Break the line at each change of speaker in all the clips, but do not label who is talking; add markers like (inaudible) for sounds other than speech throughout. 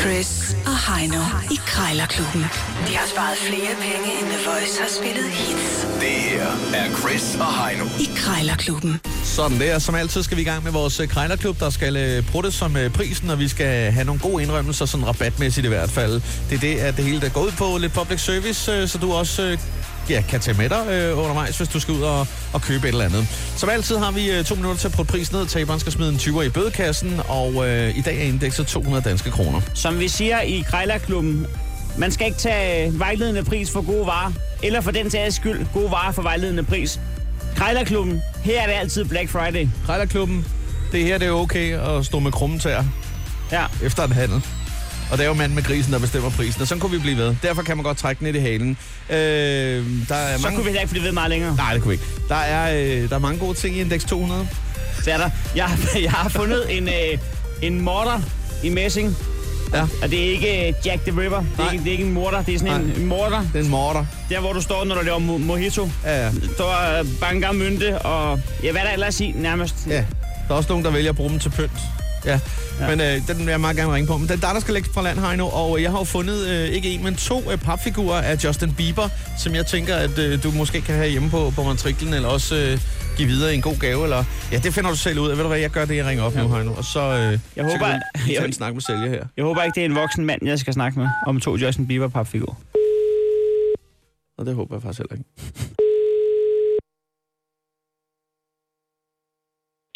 Chris og Heino i Krejlerklubben. De har sparet flere penge, end The Voice har spillet hits
Det her er Chris og Heino.
i Krejlerklubben.
Sådan der. Som altid skal vi i gang med vores øh, krejlerklub, der skal øh, pruttes som øh, prisen, og vi skal have nogle gode indrømmelser, sådan rabatmæssigt i hvert fald. Det er det, at det hele der går ud på. Lidt public service, øh, så du også øh, ja, kan tage med dig øh, undervejs, hvis du skal ud og, og købe et eller andet. Som altid har vi øh, to minutter til at prutte prisen ned. Taberen skal smide en 20'er i bødekassen, og øh, i dag er indekset 200 danske kroner.
Som vi siger i Krejlerklubben, man skal ikke tage øh, vejledende pris for gode varer, eller for den sags skyld, gode varer for vejledende pris. Krejlerklubben, her er det altid Black Friday.
Krejlerklubben, det her det er okay at stå med krumme tæer.
Ja,
efter en handel. Og det er jo manden med grisen, der bestemmer prisen, og sådan kunne vi blive ved. Derfor kan man godt trække den lidt i halen. Øh, der er
så
mange...
kunne vi heller ikke blive ved meget længere.
Nej, det kunne vi ikke. Der er, øh, der er mange gode ting i Index 200.
Så er der, jeg, har- (laughs) jeg har fundet en, øh, en morter i Messing,
Ja,
og det er ikke øh, Jack the Ripper. Det
Nej.
er, ikke, det er ikke en morter, det er sådan en morter,
den morter.
der hvor du står, når du laver mo- mojito.
Ja, ja.
Der er øh, banker mynte, og ja, hvad er der ellers i nærmest.
ja. Der er også nogen, der vælger at bruge dem til pynt. Ja, ja. men øh, den vil jeg meget gerne ringe på. Men den der, der skal lægge fra land, Heino, og jeg har jo fundet øh, ikke en, men to øh, papfigurer af Justin Bieber, som jeg tænker, at øh, du måske kan have hjemme på, på matriklen, eller også øh, give videre i en god gave. Eller... Ja, det finder du selv ud af. Ved du hvad, jeg gør det, jeg ringer op ja. nu, Heino, og så, øh,
Jeg
så
håber,
kan vi tage
jeg-
en snak med sælger her.
Jeg håber ikke, det er en voksen mand, jeg skal snakke med om to Justin Bieber papfigurer.
Og det håber jeg faktisk heller ikke.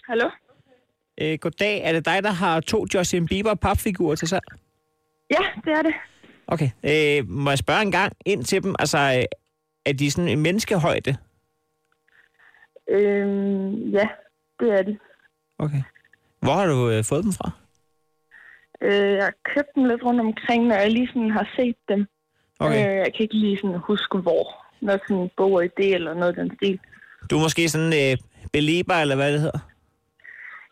Hallo?
Øh, goddag, er det dig, der har to Justin Bieber papfigurer til salg?
Ja, det er det.
Okay. Øh, må jeg spørge en gang ind til dem? Altså, øh, er de sådan en menneskehøjde?
Øhm, ja, det er det.
Okay. Hvor har du øh, fået dem fra?
Øh, jeg har købt dem lidt rundt omkring, når jeg lige sådan har set dem.
Okay.
Øh, jeg kan ikke lige sådan huske, hvor. Nok sådan en bog og idé eller noget i den stil.
Du er måske sådan øh, belieber, eller hvad det hedder?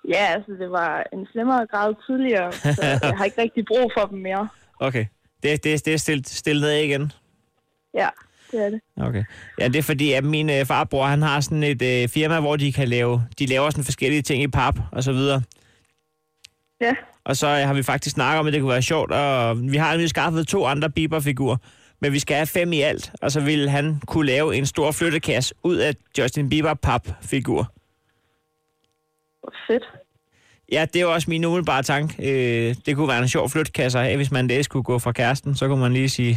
Ja, altså det var en slemmere grad
(laughs)
tidligere, så jeg har ikke rigtig brug for dem mere.
Okay. Det, det, det er stillet, stillet ned igen.
Ja, det er det.
Okay. Ja, det er fordi, at min øh, farbror, han har sådan et øh, firma, hvor de kan lave, de laver sådan forskellige ting i pap og så videre.
Ja,
Og så øh, har vi faktisk snakket om, at det kunne være sjovt, og vi har nemlig skaffet to andre Bieber-figurer, men vi skal have fem i alt, og så ville han kunne lave en stor flyttekasse ud af Justin Bieber-pap-figur.
hvor fedt.
Ja, det er jo også min umiddelbare tanke. Øh, det kunne være en sjov flyttekasse at have, hvis man det skulle gå fra kæresten, så kunne man lige sige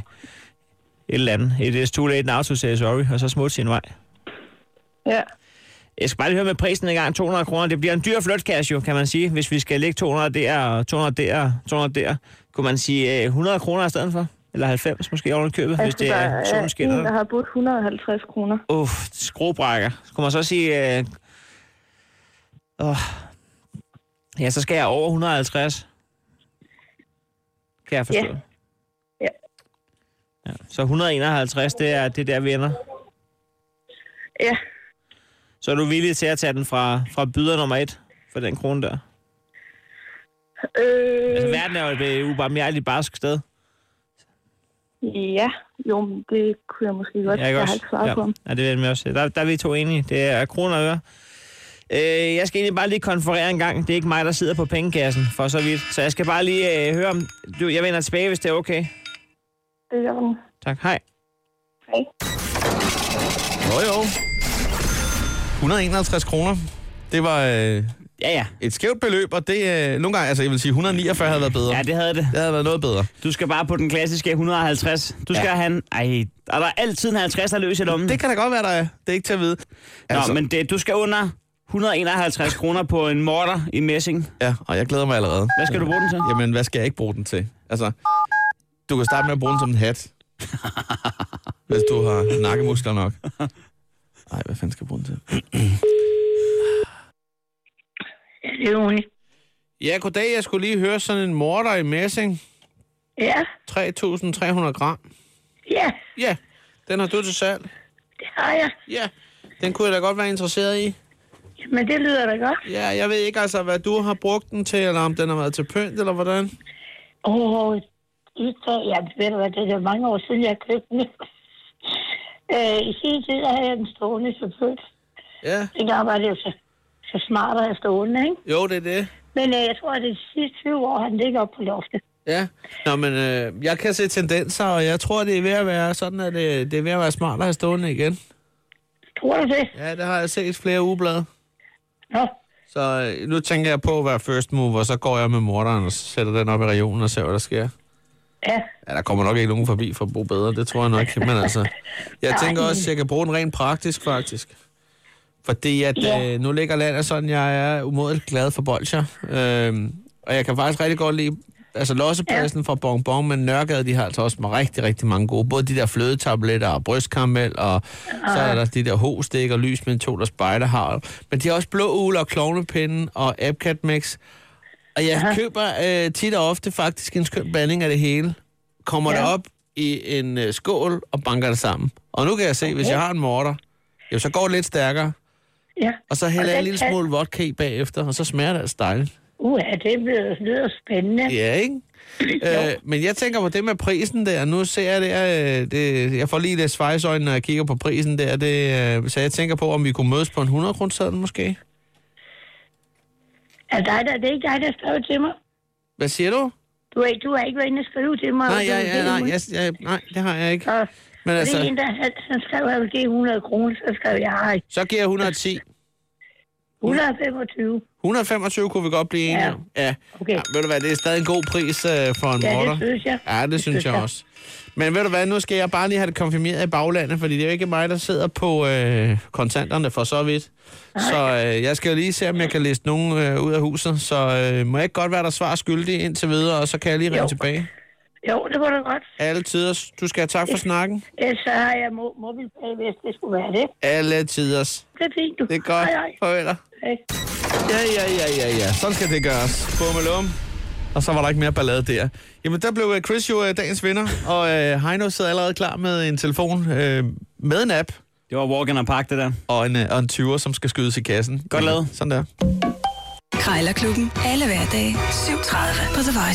et eller andet. It is too late now to say sorry, og så smutte sin vej.
Ja,
Jeg skal bare lige høre med prisen en gang. 200 kroner, det bliver en dyr flyttekasse jo, kan man sige. Hvis vi skal lægge 200 der, og 200 der, 200 der, kunne man sige øh, 100 kroner i stedet for? Eller 90 måske oven i købet, hvis
altså,
det
der
er solen
er øh, en, der
skinner.
har budt 150 kroner.
Uff, skruebrækker. Kunne man så sige... Øh, åh. Ja, så skal jeg over 150. Kan jeg forstå.
Ja. Ja.
ja. Så 151, det er det er der, vi ender.
Ja,
Så er du villig til at tage den fra, fra byder nummer et for den krone der? Altså,
øh,
verden er jo et øh, ubarmhjerteligt barsk sted.
ja, jo, men det kunne jeg måske godt.
Ja,
Jeg,
ikke
jeg har
også?
ikke svaret
ja.
på dem.
ja, det ved jeg også. Der, der er vi to enige. Det er kroner og øre. Øh, jeg skal egentlig bare lige konferere en gang. Det er ikke mig, der sidder på pengekassen, for så vidt. Så jeg skal bare lige øh, høre om... Du, jeg vender tilbage, hvis det er okay.
Det er jo...
Tak. Hej.
Hej.
Jo, jo. 151 kroner. Det var øh,
Ja, ja.
et skævt beløb, og det... Øh, nogle gange, altså jeg vil sige, 149 havde været bedre.
Ja, det havde det.
det havde været noget bedre.
Du skal bare på den klassiske 150. Du skal
Ja.
ja. have en... Ej, er der altid en 50, der er løs i lommen?
Det kan da godt være, der er. Det er ikke til at vide.
Nå, altså. men det, du skal under 151 kroner på en morter i messing.
Ja, og jeg glæder mig allerede.
Hvad skal du bruge den til?
Jamen, hvad skal jeg ikke bruge den til? Altså, du kan starte med at bruge den som en (laughs) hat. hvis du har nakkemuskler nok. Nej, hvad fanden skal jeg bruge den til?
Det er Unni.
Ja, goddag. Jeg skulle lige høre sådan en morter i messing.
Ja,
3.300 gram.
ja,
Ja, den har du til salg.
det har jeg.
Ja, den kunne jeg da godt være interesseret i.
Men det lyder da godt.
Ja, jeg ved ikke altså, hvad du har brugt den til, eller om den har været til pynt, eller hvordan.
Åh, oh, det tror jeg, ved du hvad, det er mange år siden, jeg købte den. øh, I sin tid der havde jeg den stående, selvfølgelig.
Ja,
Dengang var det jo så, så smart at have stående, ikke?
jo, det er det.
Men øh, jeg tror, at de sidste 20 år har den ligget op på loftet.
Ja. Nå, men øh, jeg kan se tendenser, og jeg tror, det er ved at være sådan, at øh, det, det er ved at være smart at have stående igen.
Tror du det?
Ja, det har jeg set flere ugeblade.
Nå,
Så øh, nu tænker jeg på at være first move, og så går jeg med morderen og sætter den op i regionen og ser, hvad der sker.
ja.
Ja, der kommer nok ikke nogen forbi for at bo bedre, det tror jeg nok. Men altså, jeg tænker også, at jeg kan bruge den rent praktisk, faktisk. Fordi at
Ja.
øh, nu ligger landet sådan, jeg er umådeligt glad for bolcher. Øh, og jeg kan faktisk rigtig godt lide altså lossepladsen ja. fra Bonbon, men Nørregade, de har altså også med rigtig, rigtig mange gode. Både de der flødetabletter og brystkaramel, og så er der de der hostik og lys med to, der spejder har. Men de har også blå ule og klovnepinden og Epcat Mix. Og jeg Aha. køber øh, tit og ofte faktisk en skøn blanding af det hele. Kommer ja.
Ja.
det op i en øh, skål og banker det sammen. Og nu kan jeg se, okay. hvis jeg har en morter, jo, så går det lidt stærkere.
ja.
Og så hælder
Og
jeg en
den
lille
kan-
smule vodka i bagefter, og så smager det altså dejligt.
Uha, det lyder, lyder spændende.
Ja, ikke? Øh, men jeg tænker på det med prisen der. Nu ser jeg der, øh, det, jeg får lige lidt svejsøjne, når jeg kigger på prisen der. Det, øh, så jeg tænker på, om vi kunne mødes på en 100 kroner måske.
Er dig, der, det er ikke dig, der skrev til mig?
Hvad siger du?
Du er, du har ikke været inde og skrive til mig.
Nej,
og
ja,
du vil
ja,
give
nej,
hundrede-
jeg, jeg, nej, det har jeg ikke.
Og,
Men
Men
altså-
altså... Det er en, der han, han skrev, at han ville give 100 kroner, så skrev jeg, ej,
Så giver jeg 110.
125.
125 kunne vi godt blive enige
Ja.
om. Ja.
Okay.
ja. Ved du hvad, det er stadig en god pris øh, for en
Ja, det
morter.
synes jeg.
Ja, det synes
(laughs)
jeg også. Men ved du hvad, nu skal jeg bare lige have det konfirmeret i baglandet, fordi det er jo ikke mig, der sidder på øh, kontanterne for så vidt. Så øh, jeg skal jo lige se, om jeg kan liste nogen øh, ud af huset. Så øh, må jeg ikke godt være der svar skyldig indtil videre, og så kan jeg lige ringe
Jo.
tilbage.
Jo, det var da godt.
Alle tider. Du skal have tak for snakken.
Ellers så har jeg mo- mobilpay, hvis det skulle være det.
Alle tiders.
Det er fint, du.
Det er godt.
Hej, hej.
Farvel. dig.
hej.
Ja, ja, ja, ja, ja. Sådan skal det gøres. Bummelum. Og så var der ikke mere ballade der. Jamen, der blev øh, Chris jo øh, dagens vinder, og øh, Heino sidder allerede klar med en telefon øh, med en app
Det var Walk in the Park, det der.
og en, øh, og en 20'er, som skal skydes i kassen.
Godt lavet.
Sådan der.
Krejlerklubben. Alle hverdage. 7.30 på The Voice.